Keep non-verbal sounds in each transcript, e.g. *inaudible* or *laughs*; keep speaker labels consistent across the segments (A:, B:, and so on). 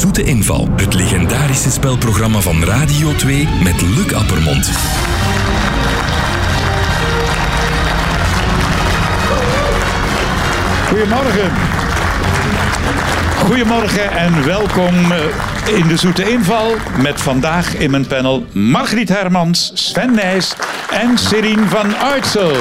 A: Grote Inval. Het legendarische spelprogramma van Radio 2 met Luc Appermond.
B: Goedemorgen. Goedemorgen en welkom eh, in de Zoete Inval met vandaag in mijn panel Margriet Hermans, Sven Nijs en Serien van Uitsel.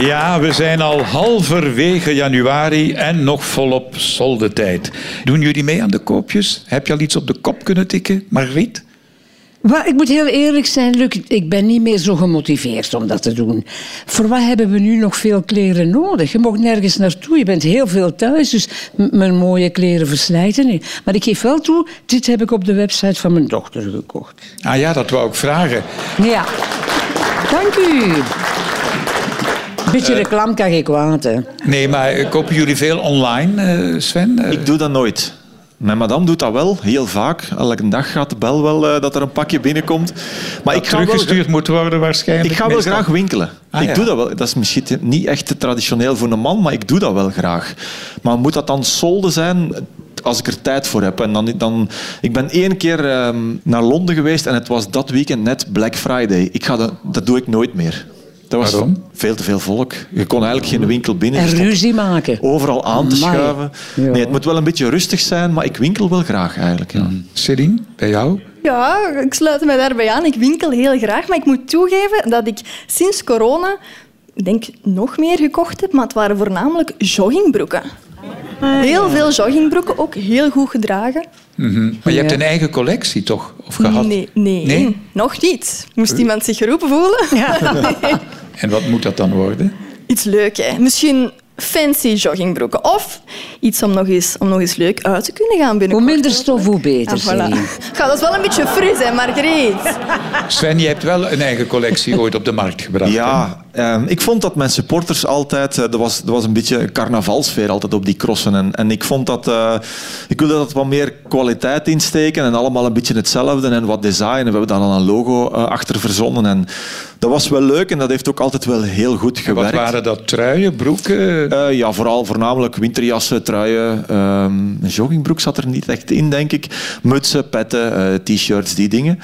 B: Ja, we zijn al halverwege januari en nog volop soldetijd. Doen jullie mee aan de koopjes? Heb je al iets op de kop kunnen tikken, Margriet?
C: Maar ik moet heel eerlijk zijn, Luc. Ik ben niet meer zo gemotiveerd om dat te doen. Voor wat hebben we nu nog veel kleren nodig? Je mag nergens naartoe. Je bent heel veel thuis, dus m- mijn mooie kleren verslijten niet. Maar ik geef wel toe, dit heb ik op de website van mijn dochter gekocht.
B: Ah ja, dat wou ik vragen.
C: Ja. Dank u. Beetje reclame kan ik kwaad, hè.
B: Nee, maar eh, kopen jullie veel online, eh, Sven? Eh,
D: Ik doe dat nooit. Mijn madame doet dat wel, heel vaak. Elke dag gaat de bel wel eh, dat er een pakje binnenkomt. Maar
B: dat
D: ik ga, wel,
B: teruggestuurd moet worden waarschijnlijk.
D: ik ga wel
B: meestal.
D: graag winkelen.
B: Ah,
D: ik
B: ja.
D: doe dat wel. Dat is misschien te- niet echt te traditioneel voor een man, maar ik doe dat wel graag. Maar moet dat dan solde zijn? Als ik er tijd voor heb. En dan, dan, ik ben één keer ehm, naar Londen geweest en het was dat weekend net Black Friday. Ik ga dat, dat doe ik nooit meer. Dat was
B: Waarom?
D: veel te veel volk. Je kon eigenlijk geen winkel binnen. dus
C: En
D: Er stond
C: ruzie maken.
D: overal aan te
C: Amai.
D: schuiven.
C: Ja.
D: Nee, het moet wel een beetje rustig zijn, maar ik winkel wel graag eigenlijk. Ja.
B: Céline, bij jou?
E: Ja, ik sluit me daarbij aan. Ik winkel heel graag, maar ik moet toegeven dat ik sinds corona, ik denk nog meer gekocht heb, maar het waren voornamelijk joggingbroeken.
C: Ah.
E: Heel veel joggingbroeken, ook heel goed gedragen.
B: Mhm. Maar je hebt
C: Ja.
B: een eigen collectie toch? Of gehad?
E: Nee, nee,
B: Nee?
E: nog niet. Moest iemand zich geroepen
B: *laughs*
E: voelen? Nee.
B: En wat moet dat dan worden?
E: *laughs* Iets leuk, hè? Misschien fancy joggingbroeken. Of iets om nog eens, om nog eens leuk uit te kunnen gaan
C: Hoe
E: binnenkort.
C: minder stof, hoe beter,
E: Ah,
C: Céline.
E: voilà. Ja, dat is wel een beetje fris, hè, Margreet?
B: Sven, je hebt wel een eigen
D: *laughs*
B: collectie ooit op de markt gebracht. hè?
D: Ja, ehm, ik vond dat mijn supporters altijd... eh, Er was, er was een beetje een carnavalsfeer altijd op die crossen. En, en ik vond dat... eh, ik wilde dat wat meer kwaliteit insteken. En allemaal een beetje hetzelfde. En wat design. En we hebben daar dan een logo eh, achter verzonnen. En dat was wel leuk. En dat heeft ook altijd wel heel goed
B: Wat
D: gewerkt.
B: waren dat? Truien, broeken?
D: Eh, ja, vooral voornamelijk winterjassen, truien. ehm, een joggingbroek zat er niet echt in, denk ik. Mutsen, petten, eh, t-shirts, die dingen.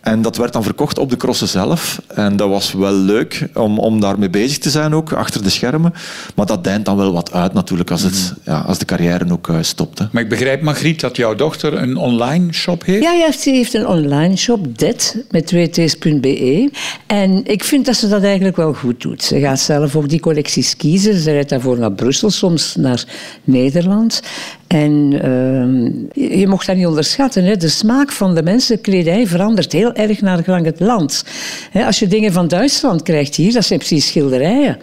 D: En dat werd dan verkocht op de crossen zelf. En dat was wel leuk om, om daarmee bezig te zijn ook, achter de schermen. Maar dat deint dan wel wat uit natuurlijk, als, het,
B: Mhm.
D: ja, als de carrière ook eh, stopt. Hè.
B: Maar ik begrijp, Margriet, dat jouw dochter een online shop heeft.
C: Ja, ja, ze heeft een online shop, det, met 2t's.be. E. En ik vind dat ze dat eigenlijk wel goed doet. Ze gaat zelf ook die collecties kiezen. Ze rijdt daarvoor naar Brussel, soms naar Nederland. En ehm, je- je mocht dat niet onderschatten. Hè? De smaak van de mensen, kledij, verandert heel erg naar gelang het land. Hè, als je dingen van Duitsland krijgt hier, dat zijn precies schilderijen.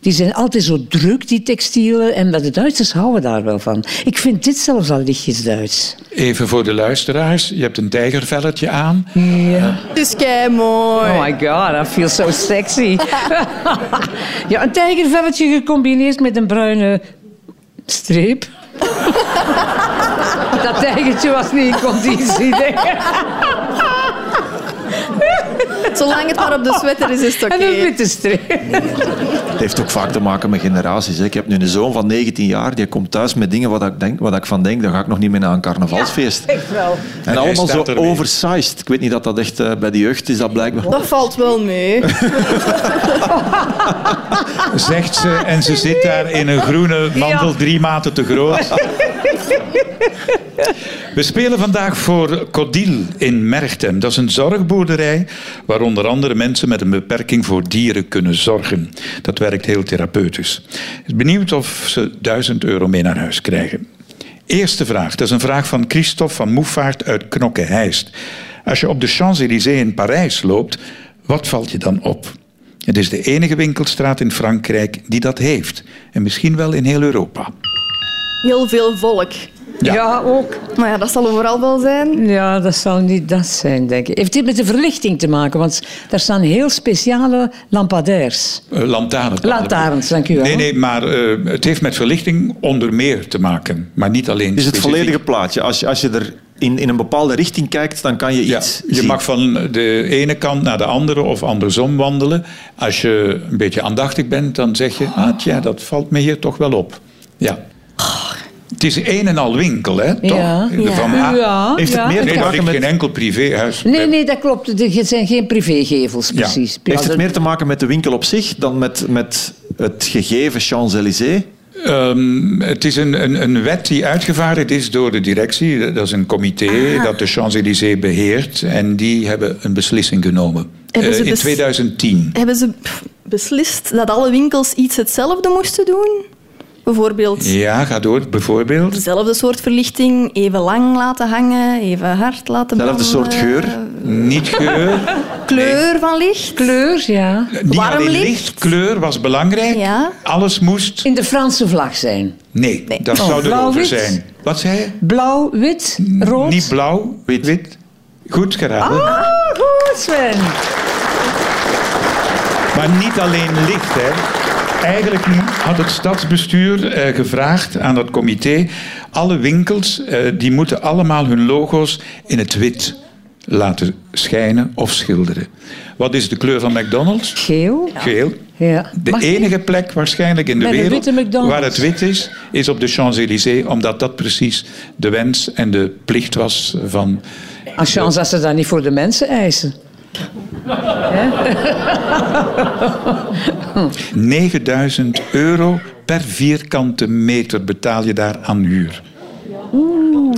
C: Die zijn altijd zo druk, die textielen. En de Duitsers houden daar wel van. Ik vind dit zelfs al lichtjes Duits.
B: Even voor de luisteraars. Je hebt een tijgervelletje aan.
C: Ja.
E: Het is Dus kei mooi.
C: Oh my god, I feel so sexy. *laughs* ja, een tijgervelletje gecombineerd met een bruine streep. *laughs* Dat tijgertje was niet in
E: *laughs*
C: conditie. denk ik.
E: Zolang het maar op de sweater is, is het oké.
C: En een witte streep.
D: Het heeft ook vaak te maken met generaties. Hè. Ik heb nu een zoon van 19 jaar, die komt thuis met dingen wat ik, denk, wat ik van denk, dan ga ik nog niet meer naar een carnavalsfeest.
C: Echt wel.
D: En
B: hij
D: allemaal zo
B: staat ermee.
D: oversized. Ik weet niet dat dat echt eh, bij de jeugd is, dat blijkbaar.
E: Dat valt wel mee.
B: Zegt ze en ze zit daar in een groene mandel, drie maten te groot. We spelen vandaag voor Codil in Merchtem. Dat is een zorgboerderij waar onder andere mensen met een beperking voor dieren kunnen zorgen. Dat werkt heel therapeutisch. Ik ben benieuwd of ze 1000 euro mee naar huis krijgen. Eerste vraag. Dat is een vraag van Christophe van Moefaert uit Knokke-Heist. Als je op de Champs-Élysées in Parijs loopt, wat valt je dan op? Het is de enige winkelstraat in Frankrijk die dat heeft. En misschien wel in heel Europa.
E: Heel veel volk.
C: Ja, ook.
E: Maar ja, dat zal overal wel zijn.
C: Ja, dat zal niet dat zijn, denk ik. Heeft dit met de verlichting te maken? Want daar staan heel speciale lampadaires.
B: Eh, lantaarnpalen.
C: Lantaarns, dank u wel.
B: Nee, nee, maar eh, het heeft met verlichting onder meer te maken. Maar niet alleen
D: is het
B: specifiek.
D: volledige plaatje. Als je, als je er in, in een bepaalde richting kijkt, dan kan je
B: Ja,
D: iets
B: je
D: zien.
B: mag van de ene kant naar de andere of andersom wandelen. Als je een beetje aandachtig bent, dan zeg je... Ah, tja, dat valt me hier toch wel op. Ja. Het is een en al winkel, hè? Toch?
C: Ja.
B: De Van A-
C: Ja,
D: Heeft het
C: ja,
D: meer
B: Nee, er
D: te maken
B: ligt
D: met...
B: geen enkel privéhuis.
C: Nee, nee, dat klopt. Het zijn geen privégevels, precies.
D: Heeft het
C: Ja,
D: meer te maken met de winkel op zich dan met, met het gegeven Champs-Élysées?
B: Ehm, het is een, een, een wet die uitgevaardigd is door de directie. Dat is een comité
E: Ah.
B: dat de Champs-Élysées beheert. En die hebben een beslissing genomen.
E: Hebben
B: Eh,
E: ze
B: in
E: bes-
B: 2010.
E: Hebben ze pff, beslist dat alle winkels iets hetzelfde moesten doen? Bijvoorbeeld
B: Ja, ga door. Bijvoorbeeld.
E: dezelfde soort verlichting, even lang laten hangen, even hard laten
D: Zelfde soort
E: branden,
D: geur?
B: Niet
E: *laughs*
B: geur.
E: Kleur van licht.
C: Kleur, ja.
B: Niet
E: Warm
B: alleen
E: licht.
B: kleur was belangrijk.
E: Ja.
B: Alles moest.
C: In de Franse vlag zijn.
B: Nee,
E: Nee.
B: dat
C: Oh,
B: zou erover
C: blauw-wit.
B: zijn. Wat zei je?
C: Blauw, wit, rood.
B: Niet blauw, wit. Goed geraden.
C: Ah, goed, Sven.
B: Maar niet alleen licht, hè. Eigenlijk had het stadsbestuur eh, gevraagd aan dat comité... alle winkels eh, die moeten allemaal hun logo's in het wit laten schijnen of schilderen. Wat is de kleur van McDonald's?
C: Geel.
B: Geel.
C: Ja.
B: De
C: Mag ik?
B: enige plek waarschijnlijk in de
C: Met een
B: wereld
C: witte McDonald's.
B: waar het wit is, is op de Champs-Élysées, omdat dat precies de wens en de plicht was van...
C: Een chance dat ze dat niet voor de mensen eisen.
B: 9000 euro per vierkante meter betaal je daar aan huur.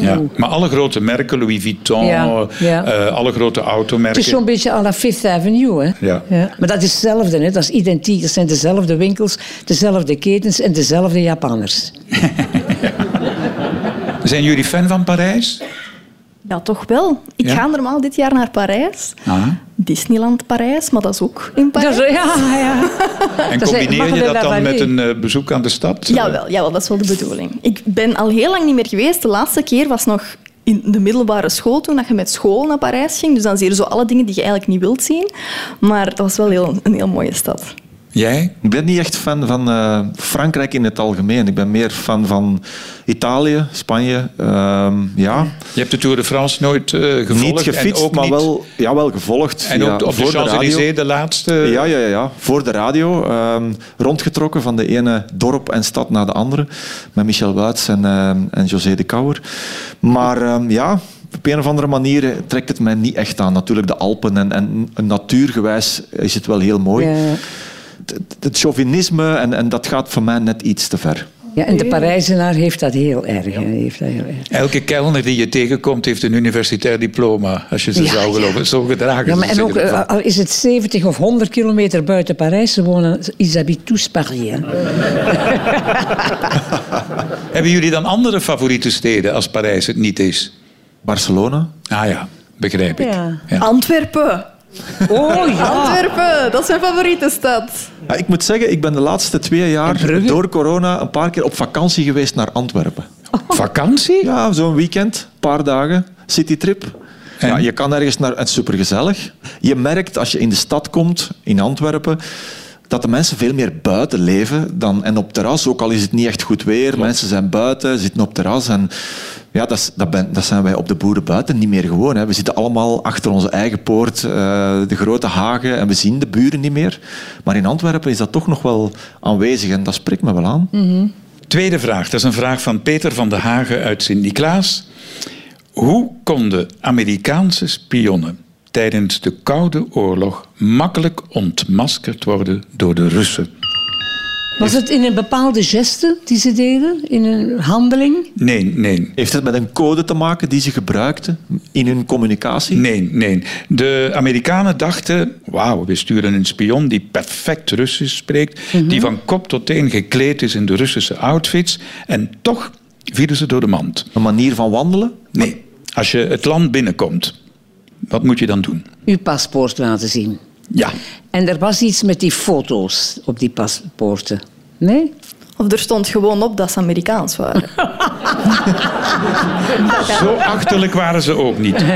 B: Ja, maar alle grote merken, Louis Vuitton,
C: Ja, ja.
B: eh, alle grote
C: Het is
B: automerken.
C: zo'n beetje à la Fifth Avenue, hè?
B: Ja.
C: Maar dat is hetzelfde, hè? Dat is identiek. Dat zijn dezelfde winkels, dezelfde ketens en dezelfde Japanners.
B: Zijn jullie fan van Parijs?
E: Ja, toch wel. Ik
B: Ja?
E: ga normaal dit jaar naar Parijs.
B: Ah.
E: Disneyland Parijs, maar dat is ook in Parijs.
C: Dat is- ja, ja.
B: En
C: Dat is
B: combineer je
C: Madelin
B: dat dan
C: Lavallée.
B: met een eh, bezoek aan de stad?
E: Jawel, jawel, dat is wel de bedoeling. Ik ben al heel lang niet meer geweest. De laatste keer was nog in de middelbare school, toen dat je met school naar Parijs ging. Dus dan zie je zo alle dingen die je eigenlijk niet wilt zien. Maar dat was wel heel, een heel mooie stad.
B: Jij?
D: Ik ben niet echt fan van eh, Frankrijk in het algemeen. Ik ben meer fan van Italië, Spanje. ehm, ja,
B: Je hebt de Tour de France nooit eh, gevolgd.
D: niet gefietst,
B: en ook
D: maar
B: niet-
D: wel, ja, wel gevolgd.
B: En
D: via-
B: op, de- op de
D: voor de radio.
B: Champs-Élysées, de laatste.
C: Eh,
D: Ja, ja, ja, ja. Voor de radio. ehm, rondgetrokken van de ene dorp en stad naar de andere. Met Michel Wuits en, ehm, en José de Kouwer. Maar ehm, ja, op een of andere manier eh, trekt het mij niet echt aan. Natuurlijk de Alpen en, en natuurgewijs is het wel heel mooi.
C: Ja, ja.
D: Het, het- het chauvinisme, en, en dat gaat voor mij net iets te ver.
C: Ja, en de Parijzenaar heeft dat heel erg. hè. Heeft dat heel erg.
B: Elke kelner die je tegenkomt heeft een universitair diploma, als je ze
C: Ja,
B: zou geloven. Zo gedragen
C: Ja,
B: ze
C: maar en
B: zich
C: ook,
B: ervan.
C: eh, al is het 70 of 100 kilometer buiten Parijs, ze wonen, ils habitent tous Paris. hè.
B: Hebben jullie dan andere favoriete steden als Parijs het niet is?
D: Barcelona?
B: Ah ja, begrijp ik.
C: *laughs* Ja.
B: Ja.
E: Antwerpen.
C: Oh
E: Ah.
C: ja!
E: Antwerpen, dat is mijn favoriete stad.
D: Ja, ik moet zeggen, ik ben de laatste twee jaar
C: Brugge?
D: door corona een paar keer op vakantie geweest naar Antwerpen.
B: Vakantie?
D: Ja, zo'n weekend, een paar dagen, citytrip.
B: En?
D: Ja, je kan ergens naar, het is supergezellig. Je merkt als je in de stad komt, in Antwerpen, dat de mensen veel meer buiten leven dan en op terras. Ook al is het niet echt goed weer, mensen zijn buiten, zitten op terras en ja, dat, is- dat, ben, dat zijn wij op de boeren buiten niet meer gewoon. Hè. We zitten allemaal achter onze eigen poort, eh, de grote hagen en we zien de buren niet meer. Maar in Antwerpen is dat toch nog wel aanwezig en dat spreekt me wel aan.
B: Tweede vraag, dat is een vraag van Peter van de Hagen uit Sint-Niklaas. Hoe konden Amerikaanse spionnen tijdens de Koude Oorlog makkelijk ontmaskerd worden door de Russen?
C: Was het in een bepaalde geste die ze deden? In een handeling?
B: Nee, nee,
D: Heeft het met een code te maken die ze gebruikten in hun communicatie?
B: Nee, nee. De Amerikanen dachten, wauw, we sturen een spion die perfect Russisch spreekt,
C: Mhm.
B: die van kop tot teen gekleed is in de Russische outfits, en toch vielen ze door de mand.
D: Een manier van wandelen?
B: Nee, als je het land binnenkomt, wat moet je dan doen?
C: Uw paspoort laten zien.
B: Ja,
C: En er was iets met die foto's op die paspoorten. Nee?
E: *laughs* Of er stond gewoon op dat ze Amerikaans waren.
B: Zo achterlijk waren ze ook
C: *laughs*
B: niet. Een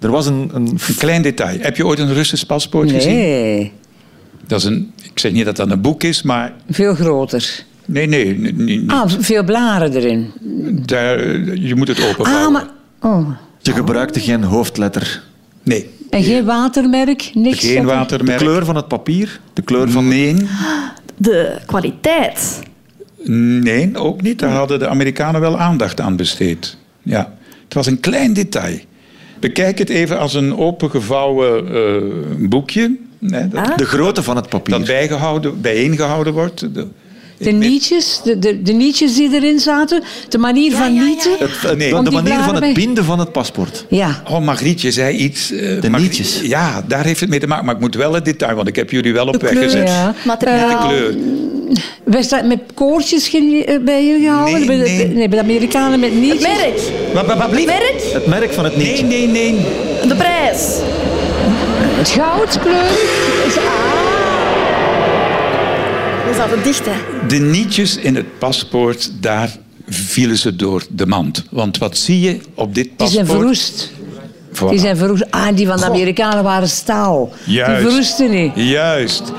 D: Er was een, een
B: klein detail. Heb je ooit een Russisch paspoort gezien?
C: Nee,
B: Dat is een, ik zeg niet dat dat een boek is, maar...
C: veel groter.
B: Nee, nee. nee, nee.
C: Ah, veel blaren erin.
B: Daar, eh, je moet het openvouwen.
C: Ah, maar... Oh.
D: Je gebruikte geen hoofdletter.
B: Nee,
C: En geen watermerk, niks.
B: geen
C: dat er-
D: De
B: watermerk.
D: kleur van het papier, de kleur van...
B: Nee,
E: De kwaliteit.
B: nee, ook niet. Daar hadden de Amerikanen wel aandacht aan besteed. Ja. Het was een klein detail. Bekijk het even als een opengevouwen eh, boekje. Hè, dat,
C: Ah.
D: De grootte van het papier.
B: dat bijgehouden, bijeengehouden wordt. De-
C: De nietjes, de, de, de nietjes die erin zaten, de manier van nieten. Ja,
D: Het- het-
B: Nee.
D: Eh, de
C: Want die
D: manier van
C: blaren
D: het
C: bij-
D: binden van het paspoort.
B: Oh, Margrietje zei iets. eh,
D: De
B: Margriet-
D: nietjes.
B: Ja, daar heeft het mee te maken. Maar ik moet wel het detail, want ik heb jullie wel op
C: de
B: weg
C: kleur.
B: gezet.
C: Ja.
E: Materiaal.
C: Eh,
B: De kleur.
C: werd dat met koortjes ge- eh, bij jullie gehouden?
B: Nee,
C: bij, de,
B: nee.
C: bij de Amerikanen met
E: Het
C: nietjes?
E: merk.
B: Wat, wat, wat
E: Het
B: blieft?
E: merk.
D: Het merk van het
B: Nee,
D: nietje.
B: nee, nee.
E: De prijs.
C: Het goudkleur. Is, ah.
E: We zaten dicht, hè.
B: De nietjes in het paspoort, daar vielen ze door de mand. Want wat zie je op dit
C: Die
B: paspoort?
C: zijn verroest.
B: Voilà.
C: Die zijn verroest. Ah, die van de Amerikanen waren staal.
B: Juist.
C: Die verroesten niet.
B: Juist.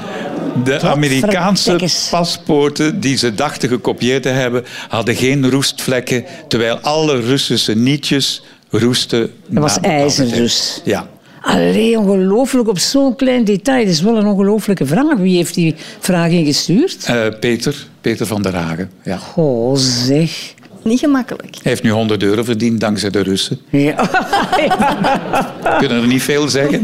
B: De Amerikaanse
C: vertekkes.
B: paspoorten die ze dachten gekopieerd te hebben, hadden geen roestvlekken, terwijl alle Russische nietjes roesten.
C: Dat was
B: na-
C: ijzer dus.
B: Ja.
C: Allee, ongelooflijk op zo'n klein detail. Dat is wel een ongelooflijke vraag. Wie heeft die vraag ingestuurd?
B: Eh, Peter, Peter van der Hagen. Ja.
C: Oh, zeg.
E: Niet gemakkelijk.
B: Hij heeft nu 100 euro verdiend dankzij de Russen.
C: Ja. *laughs*
B: Kunnen er niet veel zeggen,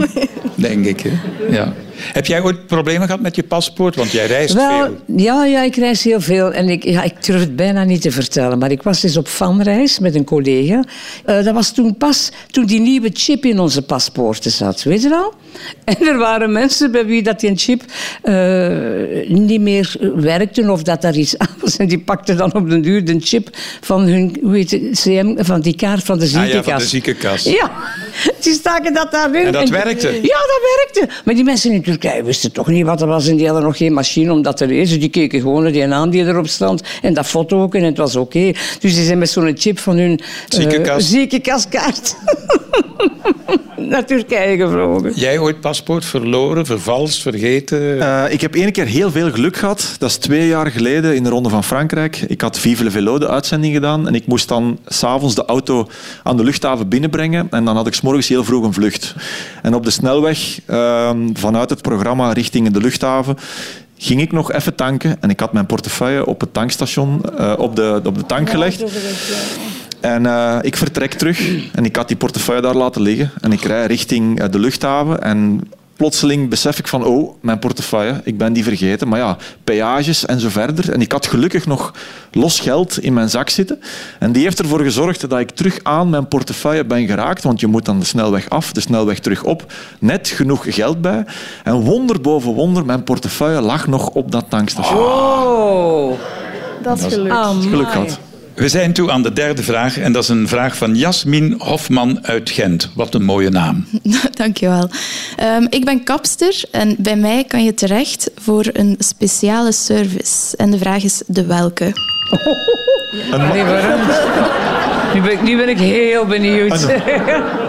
B: denk ik. Hè? Ja. Heb jij ooit problemen gehad met je paspoort? Want jij reist
C: Wel,
B: veel.
C: ja, ja, ik reis heel veel. En ik, ja, ik durf het bijna niet te vertellen. Maar ik was eens op vanreis met een collega. Eh, dat was toen pas toen die nieuwe chip in onze paspoorten zat. Weet je wel? *laughs* En er waren mensen bij wie dat die chip eh, niet meer werkte. Of dat daar iets aan was. En die pakten dan op den duur de chip van hun hoe heet het, CM, van die kaart van de
B: Ah ja, van de
C: ziekenkast.
B: ziekenkast.
C: Ja, *laughs* die staken dat daarin.
B: En dat werkte?
C: Ja, dat werkte. Maar die mensen in Turkije wisten toch niet wat er was. En die hadden nog geen machine om dat te lezen. Dus Die keken gewoon naar die naam die erop stond. En dat foto ook. En het was oké. Dus die zijn met zo'n chip van hun eh,
B: Ziekenkast.
C: ziekenkastkaart *laughs* naar Turkije gevlogen.
B: Jij ooit paspoort verloren, vervalst, vergeten?
D: Eh, ik heb één keer heel veel geluk gehad. Dat is twee jaar geleden in de Ronde van Frankrijk. Ik had Vive le Velo de uitzending gedaan. En ik moest dan s'avonds de auto aan de luchthaven binnenbrengen. En dan had ik 's morgens heel vroeg een vlucht. En op de snelweg ehm, vanuit het programma richting de luchthaven ging ik nog even tanken. En ik had mijn portefeuille op het tankstation, eh, op, de, op de tank gelegd. En eh, ik vertrek terug en ik had die portefeuille daar laten liggen. En ik rij richting eh, de luchthaven en plotseling besef ik van, oh, mijn portefeuille, ik ben die vergeten. Maar ja, peages en zo verder. En ik had gelukkig nog los geld in mijn zak zitten. En die heeft ervoor gezorgd dat ik terug aan mijn portefeuille ben geraakt. Want je moet dan de snelweg af, de snelweg terug op. Net genoeg geld bij. En wonder boven wonder, mijn portefeuille lag nog op dat tankstation.
C: Oh,
E: Dat is gelukt.
C: amai.
D: Geluk gehad.
B: We zijn toe aan de derde vraag. En dat is een vraag van Jasmin Hofman uit Gent. Wat een mooie naam.
F: Mm. *laughs* Dankjewel. Ehm ik ben kapster en bij mij kan je terecht voor een speciale service. En de vraag is de welke?
C: Nee, waarom? Nu ben, ik, nu ben ik heel benieuwd.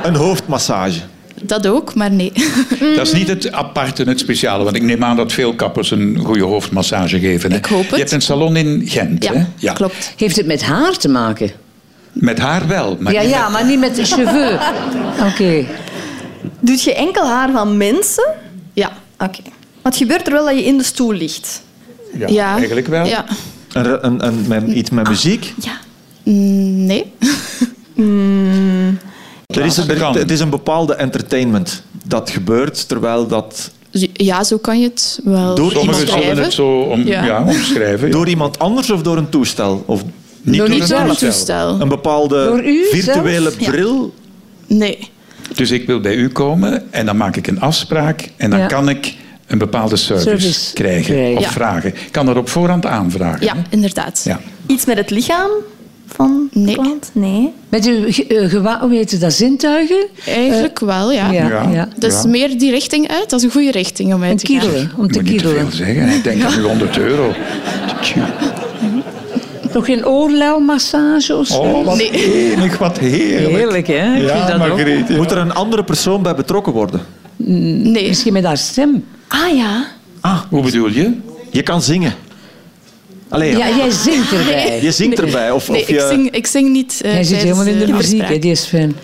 D: Een hoofdmassage.
F: Dat ook, maar nee. *laughs*
B: Dat is niet het aparte, het speciale. Want ik neem aan dat veel kappers een goede hoofdmassage geven. Hè?
F: Ik hoop het.
B: Je hebt een salon in Gent, hè?
F: Ja, klopt.
C: Heeft het met haar te maken?
B: Met haar wel. Maar
C: ja,
B: niet
C: ja,
B: met-
C: maar niet met de cheveux. Oké.
E: Doet je enkel haar van mensen?
F: Ja.
E: Oké. Maar het gebeurt er wel dat je in de stoel ligt.
B: Ja,
F: ja.
B: Eigenlijk wel.
F: Ja.
D: Een, re- een, een, met- iets met muziek.
F: ja. Mm, Nee. *laughs*
D: Er is,
B: Ja, dat
D: er-
B: kan.
D: het is een bepaalde entertainment dat gebeurt, terwijl dat
F: Ja, zo kan je het wel
D: Door iemand
B: Sommigen zullen
F: omschrijven.
B: het zo om, ja.
F: Ja.
B: omschrijven. ja.
D: door iemand anders of door een toestel of
B: Niet
C: Door
B: door
C: niet
B: het
F: Door een
B: toestel.
F: toestel.
D: een bepaalde
C: Door u
D: virtuele
F: Ja.
D: bril.
F: Nee.
B: Dus ik wil bij u komen en dan maak ik een afspraak en dan
C: Ja.
B: kan ik een bepaalde service,
C: Service
B: krijgen,
C: krijgen.
B: of
F: Ja.
B: vragen. Ik kan dat op voorhand aanvragen.
F: Ja,
B: hè?
F: inderdaad.
B: Ja.
E: Iets met het lichaam van de
F: Nee.
E: klant? Nee.
C: Met uw ge- eh, gewa- hoe heet het dat, zintuigen?
F: Eigenlijk wel, ja.
C: Eh, Ja, ja.
B: Ja.
F: Dus
B: Ja.
F: meer die richting uit, dat is een goede richting om
C: En
F: uit te gaan.
C: kiedelen, om
B: Ik
C: te
B: moet niet te
C: kiedelen.
B: veel zeggen. Ik denk aan nu 100 euro.
C: Nog geen oorlelmassage of zo?
B: Oh, wat
F: Nee.
B: enig, wat heerlijk.
C: Heerlijk, hè? Ik vind
B: Ja,
C: dat ook.
B: Margreet. ja.
D: Moet er een andere persoon bij betrokken worden?
F: Nee.
C: Misschien met haar stem.
F: Ah ja.
D: Ah,
B: *laughs* Hoe bedoel je?
D: je kan zingen. Allee, ja.
C: Ja, jij zingt *laughs* erbij.
D: je zingt erbij.
B: Eh,
D: Of,
F: Nee,
D: of je...
F: ik zing, ik zing niet. eh,
C: Hij zit
F: tijdens,
C: helemaal in de
F: eh,
C: muziek,
F: verspraak.
C: hè, die Sven.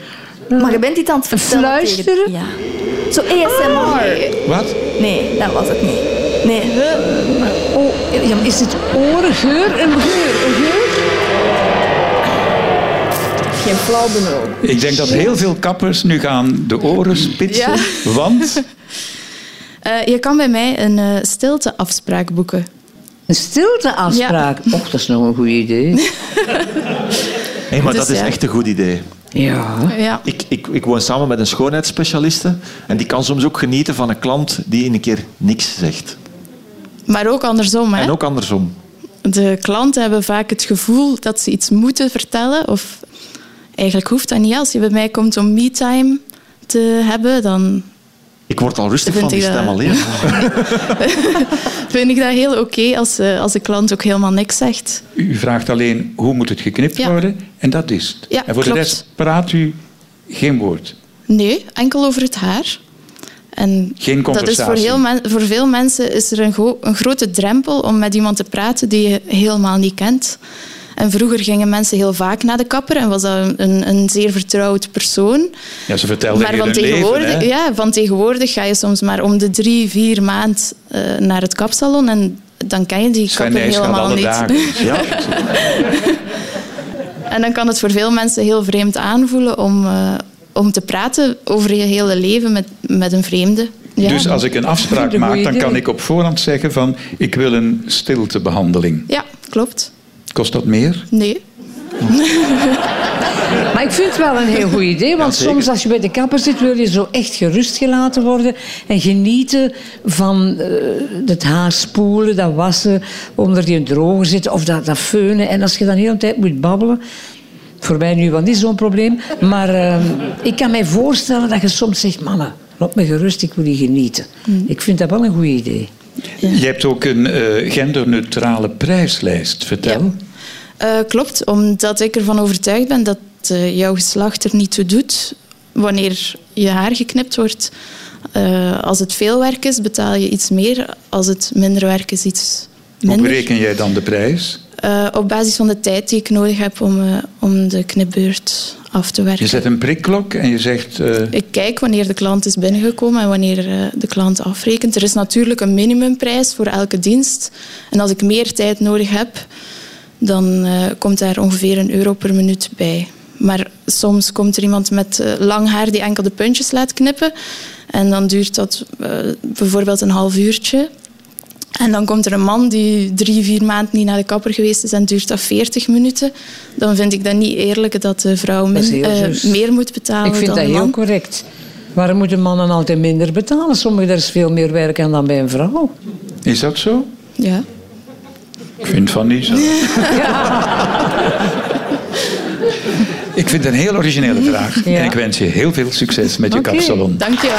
E: Maar je bent dit aan het vertellen
C: Fluisteren?
E: tegen- Ja. Zo ASMR.
B: Wat?
E: Nee, dat was het niet. Nee. huh?
C: Oh, ja, maar is het orengeur? Een geur? Een geur?
E: Geen flauw benul.
B: Ik denk dat heel veel kappers nu gaan de oren spitsen.
F: *laughs*
B: Want
F: Eh, je kan bij mij een eh, stilteafspraak boeken.
C: Een stilteafspraak. Och, dat is nog een goed idee.
D: Hey, maar
F: Dus
D: dat is
F: ja.
D: echt een goed idee.
C: *laughs* Ja.
F: Ja.
D: Ik, ik, ik woon samen met een schoonheidsspecialiste en die kan soms ook genieten van een klant die in een keer niks zegt.
F: Maar ook andersom. Hè?
D: En ook andersom.
F: De klanten hebben vaak het gevoel dat ze iets moeten vertellen. Of eigenlijk hoeft dat niet. Als je bij mij komt om me-time te hebben, dan
D: Ik word al rustig
F: Vind eh,
D: van die
F: ik dat-
D: stem alleen.
F: *laughs* vind ik dat heel oké als, eh, als de klant ook helemaal niks zegt.
B: u vraagt alleen hoe moet het geknipt
F: Ja.
B: worden en dat is het.
F: Ja,
B: en voor de
F: klopt.
B: rest praat u geen woord.
F: Nee, enkel over het haar. En
B: Geen
F: dat is
B: conversatie.
F: voor, heel men- voor veel mensen is er een, go- een grote drempel om met iemand te praten die je helemaal niet kent. En vroeger gingen mensen heel vaak naar de kapper en was dat een, een, een zeer vertrouwd persoon.
B: Ja, ze vertelden
F: maar
B: heel
F: van
B: hun
F: tegenwoordig,
B: leven. hè.
F: ja, van tegenwoordig ga je soms maar om de drie, vier maand eh, naar het kapsalon en dan ken je die
B: Sven
F: kapper
B: Nys gaat
F: helemaal
B: alle
F: niet.
B: dagen.
D: Ja.
F: En dan kan het voor veel mensen heel vreemd aanvoelen om, eh, om te praten over je hele leven met, met een vreemde. *laughs* Ja.
B: Dus als ik een afspraak
F: *laughs*
C: Een goeie
B: maak, dan kan
C: idee.
B: ik op voorhand zeggen van ik wil een stiltebehandeling.
F: Ja, klopt.
B: Kost dat meer?
F: Nee.
C: Maar ik vind het wel een heel goed idee, want
D: zeker.
C: soms als je bij de kapper zit, wil je zo echt gerustgelaten worden en genieten van eh, het haar spoelen, dat wassen, onder die droger zitten of dat, dat feunen. En als je dan de hele tijd moet babbelen, voor mij nu wel niet zo'n probleem, maar eh, ik kan mij voorstellen dat je soms zegt, mannen, laat me gerust, ik wil hier genieten.
F: Mm.
C: Ik vind dat wel een goed idee.
B: Je hebt ook een eh, genderneutrale prijslijst, vertel.
F: Ja. Eh, klopt, omdat ik ervan overtuigd ben dat eh, jouw geslacht er niet toe doet wanneer je haar geknipt wordt. Eh, als het veel werk is, betaal je iets meer. Als het minder werk is, iets
B: Hoe
F: minder.
B: bereken jij dan de prijs?
F: Eh, op basis van de tijd die ik nodig heb om, eh, om de knipbeurt af te werken.
B: Je zet een prikklok en je zegt... eh,
F: Ik kijk wanneer de klant is binnengekomen en wanneer eh, de klant afrekent. Er is natuurlijk een minimumprijs voor elke dienst. En als ik meer tijd nodig heb, dan eh, komt daar ongeveer een euro per minuut bij. Maar soms komt er iemand met eh, lang haar die enkel de puntjes laat knippen. En dan duurt dat eh, bijvoorbeeld een half uurtje. En dan komt er een man die drie, vier maanden niet naar de kapper geweest is en duurt dat 40 minuten. Dan vind ik dat niet eerlijk dat de vrouw
C: Dat is
F: min-
C: heel
F: eh,
C: juist.
F: meer moet betalen
C: Ik vind
F: dan
C: dat
F: de man.
C: heel correct. Waarom moeten mannen altijd minder betalen? Sommigen, daar is veel meer werk aan dan bij een vrouw.
B: is dat zo?
F: Ja.
B: Ik vind van
C: *laughs*
B: niet zo. Ik vind het een heel originele vraag.
C: Ja.
B: En ik wens je heel veel succes met je
C: Oké,
B: kapsalon.
F: Dankjewel.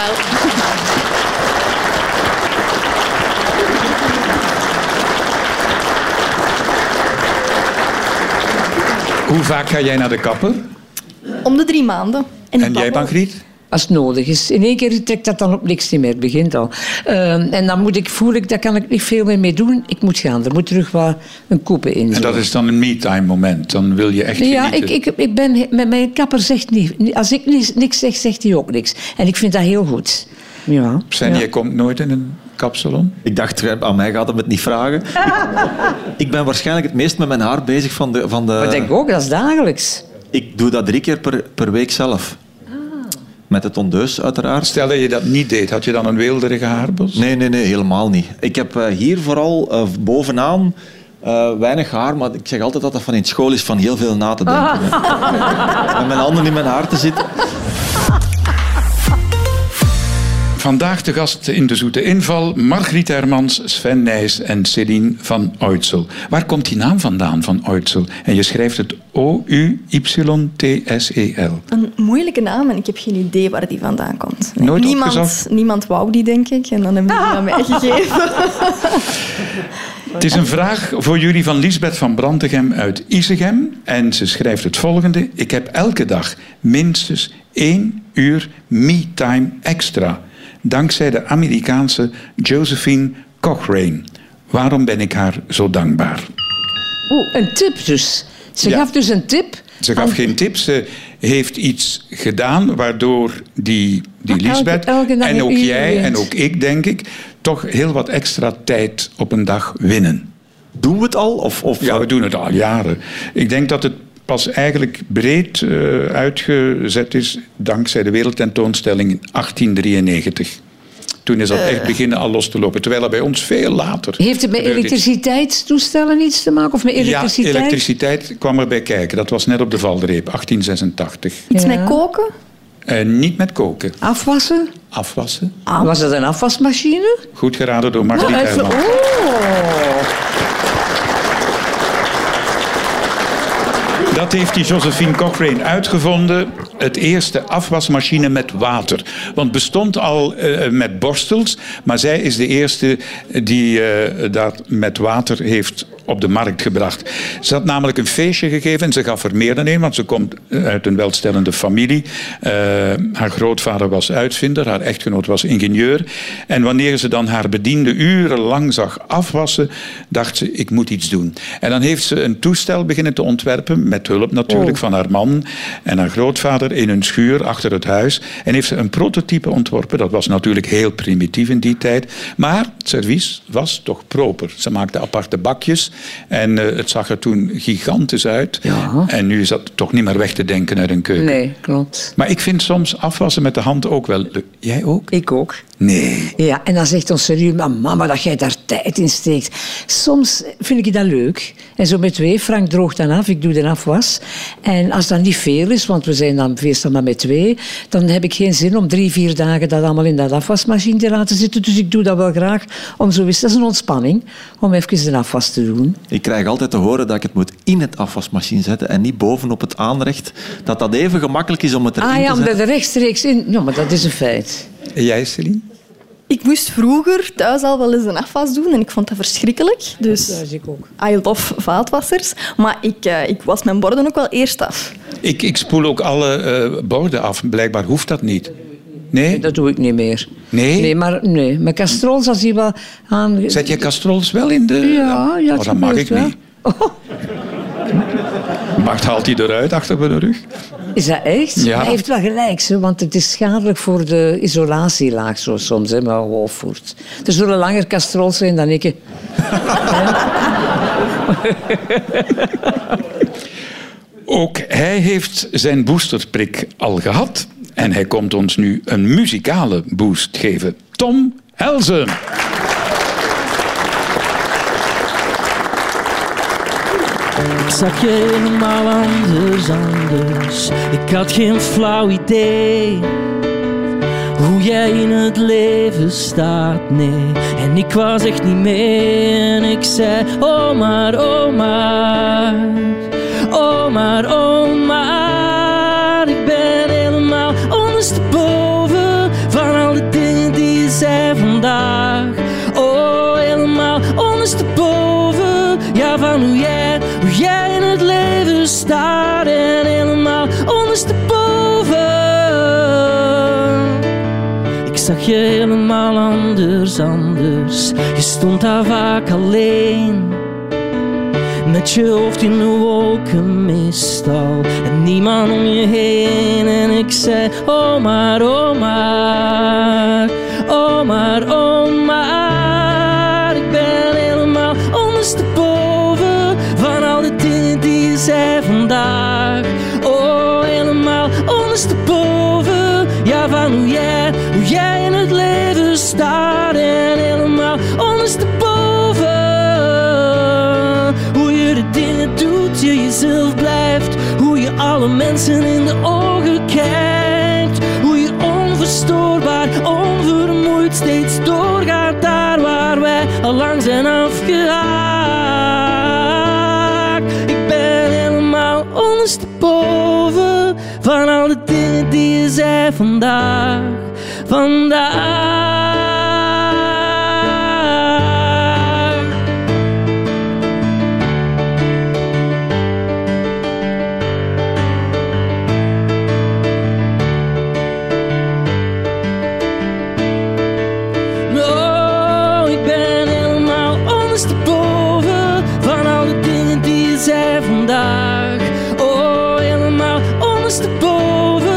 B: Hoe vaak ga jij naar de kapper?
E: Om de drie maanden. ik
B: En jij,
E: babbel.
B: Margriet?
C: Als het nodig is. In één keer trekt dat dan op niks niet meer. Het begint al. Ehm, en dan moet ik, voel ik, daar kan ik niet veel meer mee doen. Ik moet gaan. Er moet terug wat een koepen in.
B: En dat is dan een me-time moment. Dan wil je echt
C: Ja, ik,
B: genieten.
C: ik, ik ben, met mijn kapper zegt niet. Als ik niks, niks zeg, zegt hij ook niks. En ik vind dat heel goed. Ja.
B: Zijn, jij komt nooit in een kapsalon?
D: Ik dacht, aan mij gaat hem het niet vragen. ik ben waarschijnlijk het meest met mijn haar bezig van de... Van de
C: Maar denk ook, dat is dagelijks.
D: Ik doe dat drie keer per, per week zelf.
F: Ah.
D: Met het ondeus, uiteraard.
B: Stel dat je dat niet deed, had je dan een weelderige haarbos?
D: Nee, nee, nee, helemaal niet. Ik heb eh, hier vooral eh, bovenaan eh, weinig haar, maar ik zeg altijd dat dat van in school is van heel veel na te denken.
F: Ah.
D: hè. Met mijn handen in mijn haar te zitten.
B: Vandaag de gast in de Zoete Inval, Margriet Hermans, Sven Nijs en Céline van Oitsel. Waar komt die naam vandaan, van Oitsel? En je schrijft het O-U-Y-T-S-E-L.
E: Een moeilijke naam en ik heb geen idee waar die vandaan komt. Nee,
B: Nooit
E: niemand,
B: opgezocht?
E: niemand wou die, denk ik. En dan hebben ze die aan mij gegeven.
B: Het is een vraag voor jullie van Lisbeth van Brantegem uit Isegem. En ze schrijft het volgende. Ik heb elke dag minstens één uur me-time extra. Dankzij de Amerikaanse Josephine Cochrane. Waarom ben ik haar zo dankbaar?
C: Oeh, een tip dus. Ze
B: Ja.
C: gaf dus een tip.
B: Ze gaf
C: aan-
B: geen tips. Ze heeft iets gedaan waardoor die, die
C: Maar elke-
B: Lisbeth
C: elke dag
B: en
C: een
B: ook
C: uur
B: jij
C: wint.
B: en ook ik, denk ik, toch heel wat extra tijd op een dag winnen.
D: Doen we het al? Of, of,
B: Ja, we doen het al jaren. Ik denk dat het pas eigenlijk breed eh, uitgezet is dankzij de wereldtentoonstelling in 1893. Toen is dat echt beginnen al los te lopen. Terwijl dat bij ons veel later.
C: Eh. Heeft het met
B: gebeurd is.
C: elektriciteitstoestellen iets te maken? Of met elektriciteit?
B: Ja, elektriciteit kwam erbij kijken. Dat was net op de valreep, 1886.
E: Iets
C: Ja.
E: met koken?
B: En Eh, niet met koken.
C: Afwassen?
B: Afwassen.
C: Ah, was dat een afwasmachine?
B: Goed geraden door
C: Nou,
B: Margriet
C: even-
B: Herman.
C: oh.
B: Dat heeft die Josephine Cochrane uitgevonden. Het eerste afwasmachine met water. Want het bestond al eh, met borstels. Maar zij is de eerste die eh, dat met water heeft op de markt gebracht. Ze had namelijk een feestje gegeven en ze gaf er meer dan één. Want ze komt eh, uit een welstellende familie. Eh, haar grootvader was uitvinder, haar echtgenoot was ingenieur. En wanneer ze dan haar bediende urenlang zag afwassen, dacht ze, ik moet iets doen. En dan heeft ze een toestel beginnen te ontwerpen, met hulp natuurlijk
C: Oh.
B: van haar man en haar grootvader in hun schuur achter het huis. En heeft ze een prototype ontworpen, dat was natuurlijk heel primitief in die tijd. Maar het servies was toch proper. Ze maakte aparte bakjes en eh, het zag er toen gigantisch uit.
C: Ja.
B: En nu is dat toch niet meer weg te denken uit een keuken.
C: Nee, klopt.
B: Maar ik vind soms afwassen met de hand ook wel leuk. Jij ook?
C: Ik ook.
B: Nee.
C: Ja, en dan zegt ons serieus, maar mama, dat jij daar tijd in steekt. Soms vind ik dat leuk. En zo met twee, Frank droogt dan af, ik doe de afwas. En als dat niet veel is, want we zijn dan meestal maar met twee, dan heb ik geen zin om drie, vier dagen dat allemaal in dat afwasmachine te laten zitten. Dus ik doe dat wel graag om zo eens, dat is een ontspanning, om even de afwas te doen.
D: Ik krijg altijd te horen dat ik het moet in het afwasmachine zetten en niet bovenop het aanrecht. Dat dat even gemakkelijk is om het erin
C: Ah ja,
D: te
C: om
D: zetten.
C: er rechtstreeks in... Ja, maar dat is een feit.
B: En jij, Celine?
E: Ik moest vroeger thuis al wel eens een afwas doen en ik vond dat verschrikkelijk. Dus
C: ik ook.
E: I love vaatwassers. Maar ik, eh, ik was mijn borden ook wel eerst af.
B: Ik, ik spoel ook alle eh, borden af. Blijkbaar hoeft dat niet. Nee?
C: Dat doe ik niet meer.
B: Nee?
C: Nee, maar nee. Mijn castrols, als die wel aan...
B: Zet je castrols wel in de...
C: Ja, ja,
B: Oh,
C: het
B: dat mag ik
C: gebeurt wel. *laughs*
B: niet. Macht haalt hij eruit achter mijn rug?
C: Is dat echt?
B: Ja.
C: Hij heeft wel gelijk, hè, want het is schadelijk voor de isolatielaag zo soms, hè, maar Wolfurt. Er zullen langer castrols zijn dan ik. hè.
B: Ook hij heeft zijn boosterprik al gehad. En hij komt ons nu een muzikale boost geven. Tom Helzen.
G: Ik zag je helemaal anders, anders. Ik had geen flauw idee hoe jij in het leven staat, nee. En ik was echt niet mee en ik zei, oh maar, oh maar. Oh maar, oh maar. Ik ben helemaal ondersteboven van al de dingen die je zei vandaag. Oh, helemaal ondersteboven. Ja, van hoe jij, hoe jij in het leven staat. En helemaal ondersteboven. Ik zag je helemaal anders, anders. Je stond daar vaak alleen. Met je hoofd in de wolken meestal En niemand om je heen En ik zei, oh maar, oh maar Oh maar, oh maar Ik ben helemaal ondersteboven Van al de dingen die je zei vandaag Oh, helemaal ondersteboven Ja, van hoe jij, hoe jij in het leven staat En helemaal ondersteboven hoe je de dingen doet, je jezelf blijft. Hoe je alle mensen in de ogen kijkt. Hoe je onverstoorbaar, onvermoeid steeds doorgaat daar waar wij al lang zijn afgehaakt. Ik ben helemaal ondersteboven van al de dingen die je zei vandaag. Vandaag. Oh,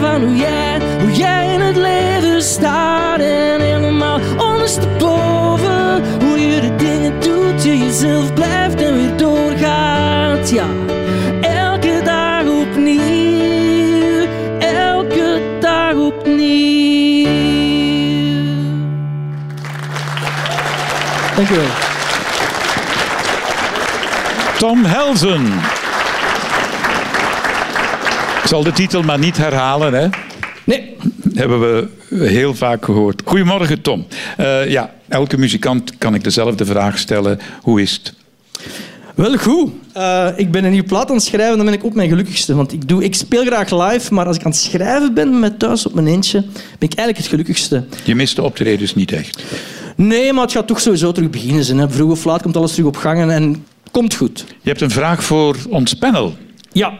G: van hoe jij, hoe jij in het leven staat. En helemaal ondersteboven, hoe je de dingen doet, je jezelf blijft en weer doorgaat. Ja, elke dag opnieuw, elke dag opnieuw. Dankjewel.
B: Tom Helzen. Ik zal de titel maar niet herhalen, hè.
G: Nee,
B: hebben we heel vaak gehoord. Goedemorgen, Tom. Eh, ja, elke muzikant kan ik dezelfde vraag stellen. Hoe is het?
G: Wel goed. Eh, ik ben een nieuwe plaat aan het schrijven, dan ben ik op mijn gelukkigste. Want ik, doe, ik speel graag live, maar als ik aan het schrijven ben met thuis op mijn eentje, ben ik eigenlijk het gelukkigste.
B: Je mist de optredens niet echt.
G: Nee, maar het gaat toch sowieso terug beginnen. zijn, Hè. Vroeg of laat komt alles terug op gang en, en komt goed.
B: Je hebt een vraag voor ons panel.
G: Ja.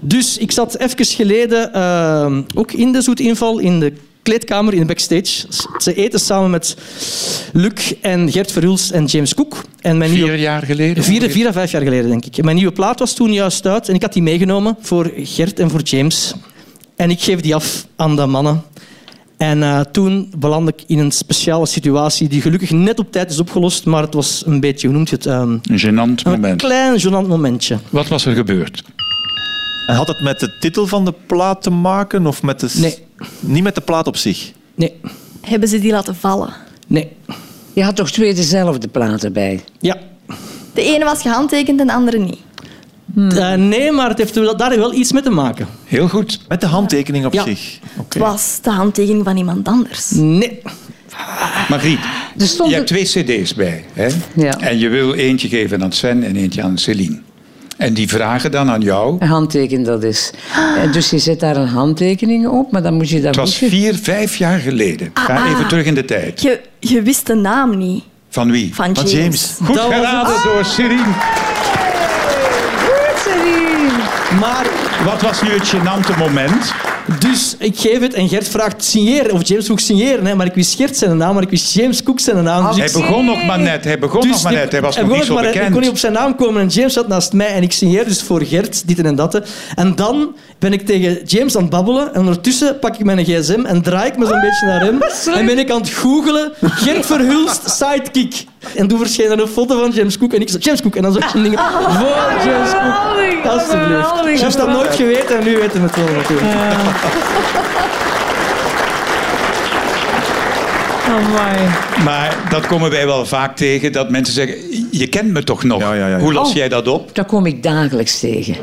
G: Dus ik zat even geleden eh, ook in de zoetinval in de kleedkamer in de backstage. Ze eten samen met Luc en Gert Verhulst en James Cook. En mijn nieuwe
B: Vier jaar geleden?
G: Vier, vier à vijf jaar geleden, denk ik. Mijn nieuwe plaat was toen juist uit en ik had die meegenomen voor Gert en voor James. En ik geef die af aan de mannen. En eh, toen beland ik in een speciale situatie die gelukkig net op tijd is opgelost, maar het was een beetje, hoe noemt je het, ehm,
B: Een
C: Oh,
B: gênant
G: een
B: moment.
G: klein gênant momentje.
B: Wat was er gebeurd?
D: En had het met de titel van de plaat te maken of met de... s-
G: Nee.
D: Niet met de plaat op zich.
G: Nee,
E: Hebben ze die laten vallen?
G: nee,
C: Je had toch twee dezelfde platen bij?
G: ja.
E: De ene was gehandtekend en de andere niet.
G: Eh, nee, maar het heeft wel- daar wel iets mee te maken.
B: Heel goed.
D: Met de handtekening op
G: Ja.
D: zich. Oké.
E: Het was de handtekening van iemand anders.
G: Nee,
B: Margriet,
C: Er stond
B: je hebt
C: een-
B: twee cd's bij. Hè?
C: Ja.
B: En je wil eentje geven aan Sven en eentje aan Celine. En die vragen dan aan jou.
C: Een handteken dat is. En Dus je zet daar een handtekening op, maar dan moet je dat
B: Het was
C: goed ge-
B: vier, vijf jaar geleden. Ga
E: Ah, ah.
B: even terug in de tijd.
E: Je, je wist de naam niet
B: Van wie?
E: van
D: Van
E: James.
D: James.
B: Goed
G: Dat was het.
B: geraden door Celine.
G: maar
B: Wat was nu het gênante moment?
G: Dus ik geef het en Gert vraagt signeren, of James Cook signeren. Hè. Maar ik wist Gert zijn naam, maar ik wist James Cook zijn naam. Dus
B: Hij
G: ik-
B: begon nog maar net. Hij begon
G: dus
B: nog maar
G: ik-
B: net. Hij was
G: hij
B: nog
G: begon
B: niet zo
G: maar net. Ik kon niet
B: bekend.
G: op zijn naam komen en James zat naast mij en ik signeerde dus voor Gert, dit en dat. En dan ben ik tegen James aan het babbelen en ondertussen pak ik mijn gsm en draai ik me zo'n beetje naar hem. En ben ik aan het googelen, Gert Verhulst sidekick. En toen verscheen er een foto van James Cook en ik zei James Cook. En dan zag ik zo'n ding voor James Cook. Alsjeblieft. Je hebt dat nooit geweten en nu weten we het wel natuurlijk.
B: Maar dat komen wij wel vaak tegen. Dat mensen zeggen, je kent me toch nog?
D: Ja, ja, ja.
B: Hoe los
C: Oh.
B: jij dat op?
C: Daar kom ik dagelijks tegen.
B: En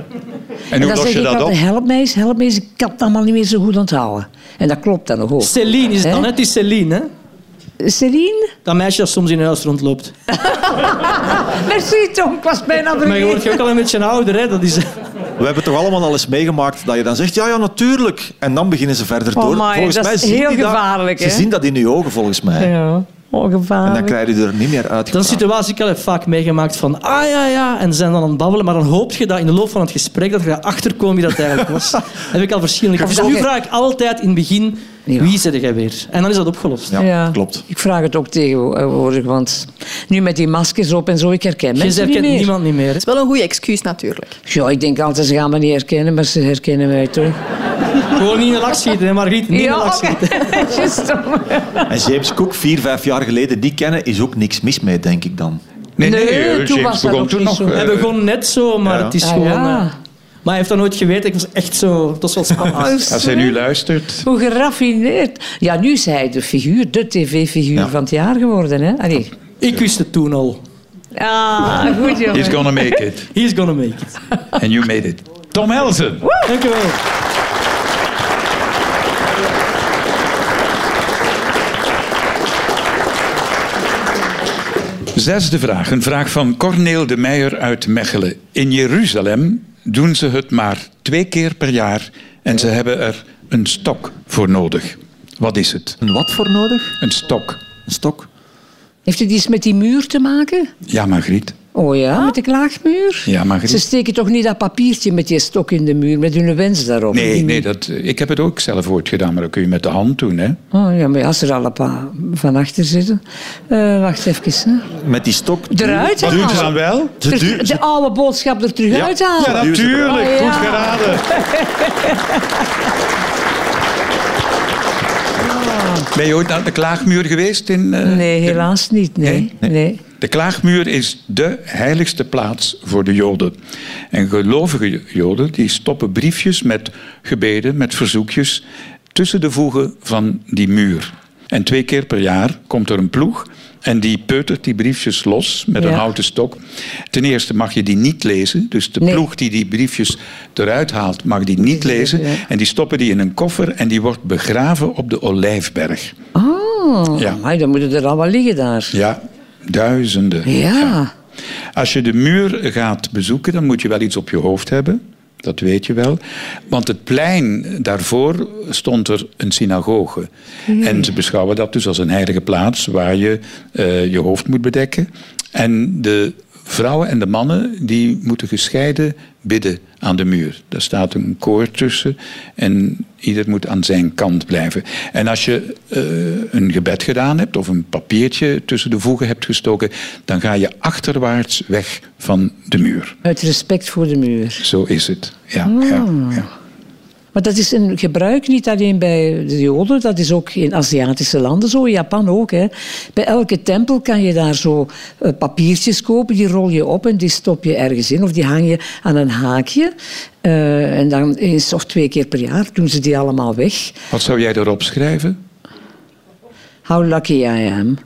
B: hoe
C: dan
B: los
C: zeg
B: je
C: ik
B: dat op?
C: altijd, help mij eens, help mij eens. Ik kan het allemaal niet meer zo goed onthouden. En dat klopt dan nog ook.
G: Celine is het
C: Hè?
G: dan, hè? Het is Celine, hè?
C: Celine?
G: Dat meisje dat soms in huis rondloopt.
C: Merci Tom, ik was bijna
G: Maar je wordt
C: vergeten.
G: ook al een beetje ouder, hè? Dat is...
D: We hebben toch allemaal al eens meegemaakt dat je dan zegt, ja, ja, natuurlijk. En dan beginnen ze verder door.
C: Oh my,
D: volgens
C: dat
D: mij
C: is
D: zien
C: heel
D: die dat-
C: gevaarlijk,
D: Ze
C: hè?
D: zien dat in je ogen, volgens mij.
C: Ja, oh,
D: En
C: gevaarlijk.
D: dan krijg je er niet meer uit.
G: Dat is een situatie die ik al heb vaak meegemaakt van... Ah, ja, ja. En ze zijn dan aan het babbelen. Maar dan hoop je dat in de loop van het gesprek... dat je erachter komt wie dat eigenlijk
C: *laughs*
G: was. Dat heb ik al verschillende keer.
C: Of
G: Dus
C: dat
G: nu
C: je-
G: vraag ik altijd in het begin...
C: Ja.
G: Wie zit jij weer? En dan is dat opgelost.
D: Ja, klopt.
C: Ik vraag het ook tegenwoordig, want nu met die maskers op en zo, ik herken
G: Je
C: mensen
G: herkent
C: niet meer.
G: niemand niet meer. hè.
E: Dat is wel een goede excuus natuurlijk.
C: Ja, ik denk altijd, ze gaan me niet herkennen, maar ze herkennen mij toch.
G: Gewoon niet in de lach schieten, hè, Margriet. Niet in de lach
C: oké.
G: schieten.
C: *laughs* Juist, Tom.
D: En James Cook, vier, vijf jaar geleden, die kennen, is ook niks mis mee, denk ik dan.
B: Nee,
C: Nee,
B: eh,
C: toen
B: James
C: was dat
B: begon
C: ook
B: toen
C: niet
B: nog.
C: zo.
B: eh,
G: Hij begon net zo, maar
D: Ja.
G: het is
C: Ah,
G: gewoon...
C: ja. Oh,
G: eh, maar hij heeft dat nooit geweten. Ik was echt zo... Dat was wel
C: *laughs*
G: spannend.
B: als hij nu luistert.
C: Hoe geraffineerd. Ja, nu is hij de figuur, de tv-figuur
D: Ja.
C: van het jaar geworden. Hè? Allee.
G: Ik wist het toen al.
C: Ah, goed
B: He's
C: jongen.
B: gonna make it.
G: He's gonna make it.
C: Ah.
B: And you made it. Tom Helsen.
G: Dankjewel.
B: Zesde vraag. Een vraag van Corneel de Meijer uit Mechelen. In Jeruzalem doen ze het maar twee keer per jaar en ze hebben er een stok voor nodig. Wat is het?
D: Een wat voor nodig?
B: Een stok.
D: Een stok?
C: Heeft het iets met die muur te maken?
B: Ja, Margriet.
C: Oh ja, met de klaagmuur?
B: Ja, Margriet.
C: Ze steken toch niet dat papiertje met die stok in de muur, met hun wens daarop?
B: Nee,
C: Die muur.
B: nee dat, eh, ik heb het ook zelf ooit gedaan, maar dat kun je met de hand doen. Hè?
C: Oh, ja, maar als er al een paar van achter zitten. Eh, wacht even. Hè.
D: Met die stok.
C: Eruit
B: Wat doen ze dan
C: halen.
B: wel?
D: Ze
C: Ter-
D: duw-
C: de oude boodschap er terug
D: Ja.
C: uithalen.
D: Ja, dat- Duwen ze eruit.
C: Ja.
B: geraden. Ben je ooit naar de Klaagmuur geweest? In, eh,
C: Nee,
B: de-
C: helaas niet. Nee, nee.
B: De klaagmuur is de heiligste plaats voor de Joden. En gelovige Joden die stoppen briefjes met gebeden, met verzoekjes tussen de voegen van die muur. En twee keer per jaar komt er een ploeg en die peutert die briefjes los met een
C: Ja.
B: houten stok. Ten eerste mag je die niet lezen, dus de
C: Nee.
B: ploeg die die briefjes eruit haalt mag die niet lezen.
C: ja.
B: En die stoppen die in een koffer en die wordt begraven op de Olijfberg.
C: Oh,
B: Ja.
C: amai, dan moeten er allemaal liggen daar.
B: Ja, duizenden.
C: Ja.
B: Als je de muur gaat bezoeken, dan moet je wel iets op je hoofd hebben. Dat weet je wel. Want het plein daarvoor stond er een synagoge. En ze beschouwen dat dus als een heilige plaats waar je eh, je hoofd moet bedekken. En de vrouwen en de mannen die moeten gescheiden bidden aan de muur. Daar staat een koor tussen en ieder moet aan zijn kant blijven. En als je eh, een gebed gedaan hebt of een papiertje tussen de voegen hebt gestoken, dan ga je achterwaarts weg van de muur.
C: Uit respect voor de muur.
B: Zo is het. Ja, ja,
C: Hmm.
B: ja.
C: Maar dat is een gebruik niet alleen bij de Joden, dat is ook in Aziatische landen zo, in Japan ook. Hè. Bij elke tempel kan je daar zo eh, papiertjes kopen, die rol je op en die stop je ergens in of die hang je aan een haakje. Eh, en dan eens of twee keer per jaar doen ze die allemaal weg.
B: Wat zou jij daarop schrijven?
C: How lucky I am.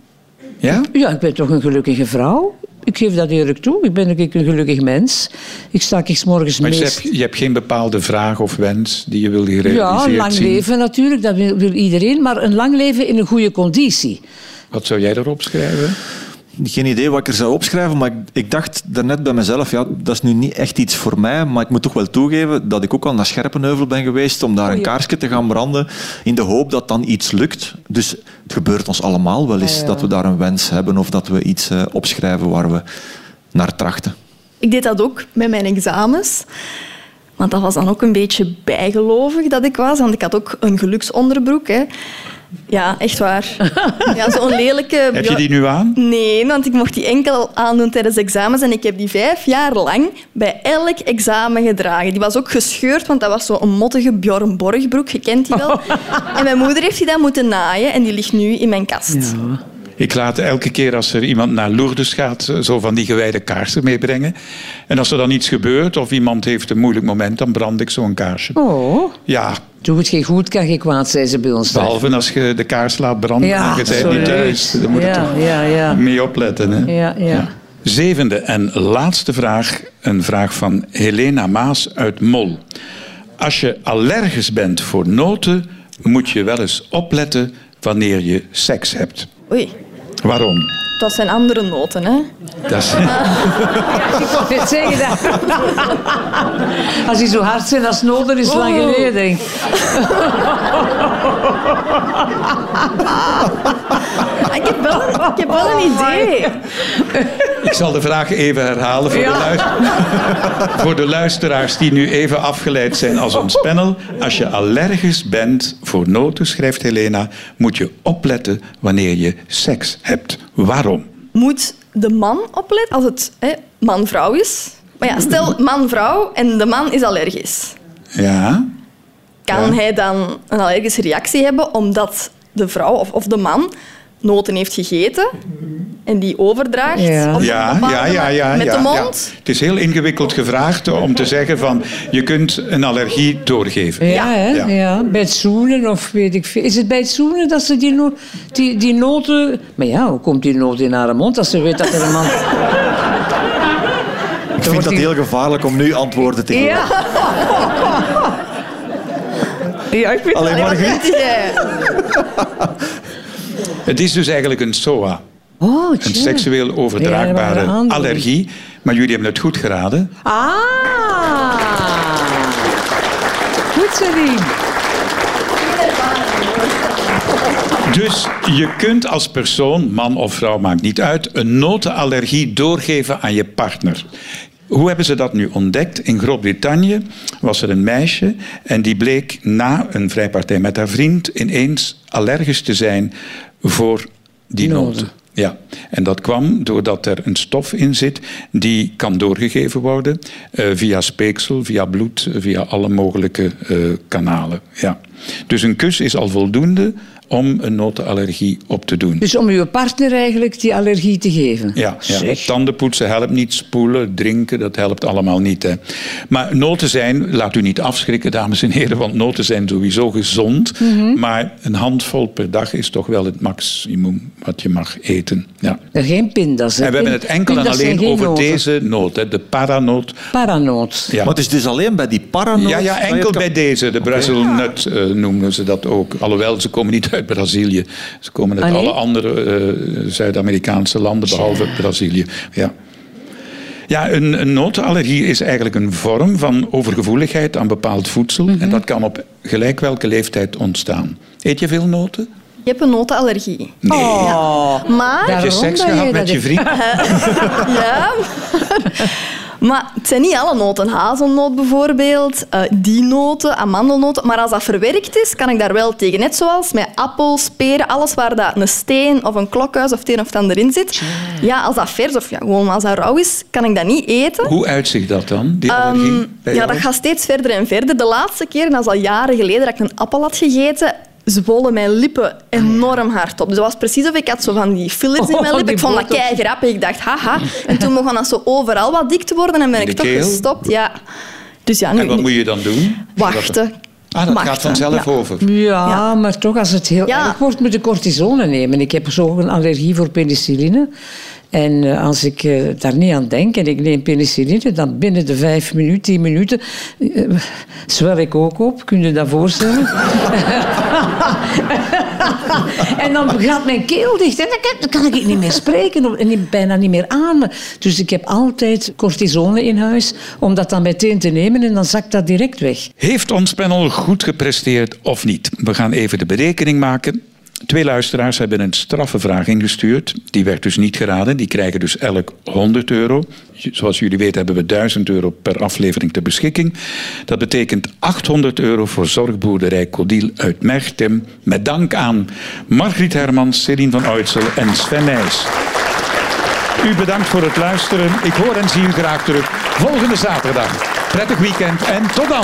B: Ja?
C: Ja, ik ben toch een gelukkige vrouw. Ik geef dat eerlijk toe. Ik ben ook een gelukkig mens. Ik sta ik morgens
B: Maar je
C: meest...
B: hebt, je hebt geen bepaalde vraag of wens die je wil gerealiseerd
C: Ja, een lang
B: zien.
C: leven natuurlijk, dat wil, wil iedereen. Maar een lang leven in een goede conditie.
B: Wat zou jij daarop schrijven?
D: Geen idee wat ik er zou opschrijven, maar ik, ik dacht daarnet bij mezelf, ja, dat is nu niet echt iets voor mij, maar ik moet toch wel toegeven dat ik ook al naar Scherpenheuvel ben geweest om daar een kaarsje te gaan branden in de hoop dat dan iets lukt. Dus het gebeurt ons allemaal wel eens dat we daar een wens hebben of dat we iets eh, opschrijven waar we naar trachten.
E: Ik deed dat ook met mijn examens. Want dat was dan ook een beetje bijgelovig dat ik was. Want ik had ook een geluksonderbroek. Hè. Ja, echt waar. Ja, zo'n lelijke...
B: Heb je die nu aan?
E: Nee, want ik mocht die enkel aandoen tijdens examens. En ik heb die vijf jaar lang bij elk examen gedragen. Die was ook gescheurd, want dat was zo'n mottige Bjorn Borgbroek. Je kent die wel. En mijn moeder heeft die dan moeten naaien. En die ligt nu in mijn kast.
B: Ik laat elke keer als er iemand naar Lourdes gaat, eh, zo van die gewijde kaarsen meebrengen. En als er dan iets gebeurt of iemand heeft een moeilijk moment, dan brand ik zo'n kaarsje.
C: Oh,
B: Ja,
C: doe het geen goed, kan geen kwaad, zei ze bij ons. daar.
B: behalve als je de kaars laat branden
C: Ja,
B: en je bent niet
C: absoluut.
B: thuis. Dan moet je
C: Ja,
B: toch
C: ja,
B: *laughs*
C: ja.
B: mee opletten. Hè?
C: Ja, ja.
B: Zevende en laatste vraag. Een vraag van Helena Maas uit Mol. Als je allergisch bent voor noten, moet je wel eens opletten wanneer je seks hebt.
E: Oei,
B: Waarom?
E: dat zijn andere noten, hè.
B: Dat is...
C: Net zeggen dat. Als die zo hard zijn als nodig is, lang geleden. denk ik.
E: Ah, Ik heb wel, ik heb wel
C: Oh
E: een idee.
B: Ik zal de vraag even herhalen voor, de
C: Ja.
B: luister- voor de luisteraars die nu even afgeleid zijn als ons panel. Als je allergisch bent voor noten, schrijft Helena, moet je opletten wanneer je seks hebt. Waarom?
E: Moet de man opletten als het hè, man-vrouw is? Maar ja, stel man-vrouw en de man is allergisch.
B: Ja,
E: Kan
B: Ja.
E: hij dan een allergische reactie hebben omdat de vrouw of, of de man noten heeft gegeten en die overdraagt
C: Ja.
E: op een
B: ja,
E: bepaalde
B: ja, ja, ja.
E: manier met
B: ja,
E: de
B: ja.
E: mond?
B: Het is heel ingewikkeld gevraagd om te zeggen van je kunt een allergie doorgeven.
C: Ja, hè?
B: Ja.
C: Ja. bij het zoenen of weet ik veel. Is het bij het zoenen dat ze die, no- die, die noten... Maar ja, hoe komt die noot in haar mond als ze weet dat er een man...
D: Ik vind dat
C: die-
D: heel gevaarlijk om nu antwoorden te geven.
C: Ja, ik vind
D: Alleen maar
E: Wat
D: goed.
E: weet jij?
B: Het is dus eigenlijk een SOA,
C: Oh,
B: een
C: tja.
B: seksueel overdraagbare
C: Ja, maar een andere.
B: allergie. Maar jullie hebben het goed geraden.
C: Ah! Goed, Celine.
B: Dus je kunt als persoon, man of vrouw, maakt niet uit, een notenallergie doorgeven aan je partner. Hoe hebben ze dat nu ontdekt? In Groot-Brittannië was er een meisje en die bleek na een vrijpartij met haar vriend ineens allergisch te zijn voor die
C: Noten.
B: noten. Ja, en dat kwam doordat er een stof in zit die kan doorgegeven worden eh, via speeksel, via bloed, eh, via alle mogelijke eh, kanalen. Ja. Dus een kus is al voldoende om een notenallergie op te doen.
C: Dus om uw partner eigenlijk die allergie te geven.
B: Ja, ja.
C: Zeg.
B: tanden poetsen helpt niet, spoelen, drinken, dat helpt allemaal niet. Hè. Maar noten zijn, laat u niet afschrikken, dames en heren, want noten zijn sowieso gezond.
C: Mhm.
B: Maar een handvol per dag is toch wel het maximum wat je mag eten. Ja.
C: En Eh, Geen pindas. hè.
B: En we hebben het
C: Pin-
B: enkel en
C: pindas zijn
B: alleen
C: geen
B: over
C: noten.
B: deze noot, hè, de paranoot.
C: Paranoot.
B: Ja.
D: Maar het is dus alleen bij die paranoia.
B: Ja, ja, enkel bij deze. De Brazil Nut eh, noemden ze dat ook. Alhoewel, ze komen niet uit Brazilië. Ze komen uit
C: Ah, nee?
B: alle andere eh, Zuid-Amerikaanse landen, behalve Brazilië. Ja. Ja, een, een notenallergie is eigenlijk een vorm van overgevoeligheid aan bepaald voedsel.
C: Mhm.
B: En dat kan op gelijk welke leeftijd ontstaan. Eet je veel noten?
E: Je hebt een notenallergie.
B: Nee. Heb
E: Maar,
B: je
C: Oh, Waarom
B: seks
C: ben je
B: gehad met
C: dat-
B: je vriend?
E: *laughs* ja. Maar het zijn niet alle noten. Hazelnoot bijvoorbeeld, eh, die noten, amandelnoten. Maar als dat verwerkt is, kan ik daar wel tegen. Net zoals met appels, peren, alles waar dat een steen of een klokhuis of het een of het ander in zit. Ja, als dat vers of ja, gewoon als dat rauw is, kan ik dat niet eten.
B: Hoe uitziet dat dan, die
C: Ehm,
B: allergie? bij
E: Ehm, Ja,
B: jou?
E: dat gaat steeds verder en verder. De laatste keer, en dat is al jaren geleden, dat ik een appel had gegeten, zwollen mijn lippen enorm hard op. Dus dat was precies of ik had zo van die fillers in
C: Oh,
E: mijn lippen.
C: die
E: Ik vond dat
C: botox.
E: kei grappig. Ik dacht, haha. En toen begon dat zo overal wat dik te worden en ben
B: de
E: ik toch
B: keel?
E: gestopt. Ja. Dus ja, nu,
B: En wat moet je dan doen?
E: wachten.
B: Ah, dat
E: Wachten,
B: gaat vanzelf
E: ja.
B: over.
C: Ja, maar toch, als het heel
E: Ja.
C: erg wordt, moet ik cortisone nemen. Ik heb zo ook een allergie voor penicilline. En eh, als ik eh, daar niet aan denk en ik neem penicilline, dan binnen de vijf minuten, tien minuten, eh, zwel ik ook op. Kun je dat voorstellen? *laughs* en dan gaat mijn keel dicht en dan kan- dan kan ik niet meer spreken of- en niet- bijna niet meer ademen. Dus ik heb altijd cortisone in huis om dat dan meteen te nemen en dan zakt dat direct weg.
B: Heeft ons panel goed gepresteerd of niet? We gaan even de berekening maken. Twee luisteraars hebben een straffe vraag ingestuurd. Die werd dus niet geraden. Die krijgen dus elk 100 euro. J- Zoals jullie weten hebben we 1000 euro per aflevering ter beschikking. Dat betekent 800 euro voor zorgboerderij Codiel uit Merchtem. Met dank aan Margriet Hermans, Céline van Uitsel en Sven Nijs. U bedankt voor het luisteren. Ik hoor en zie u graag terug volgende zaterdag. Prettig weekend en tot dan!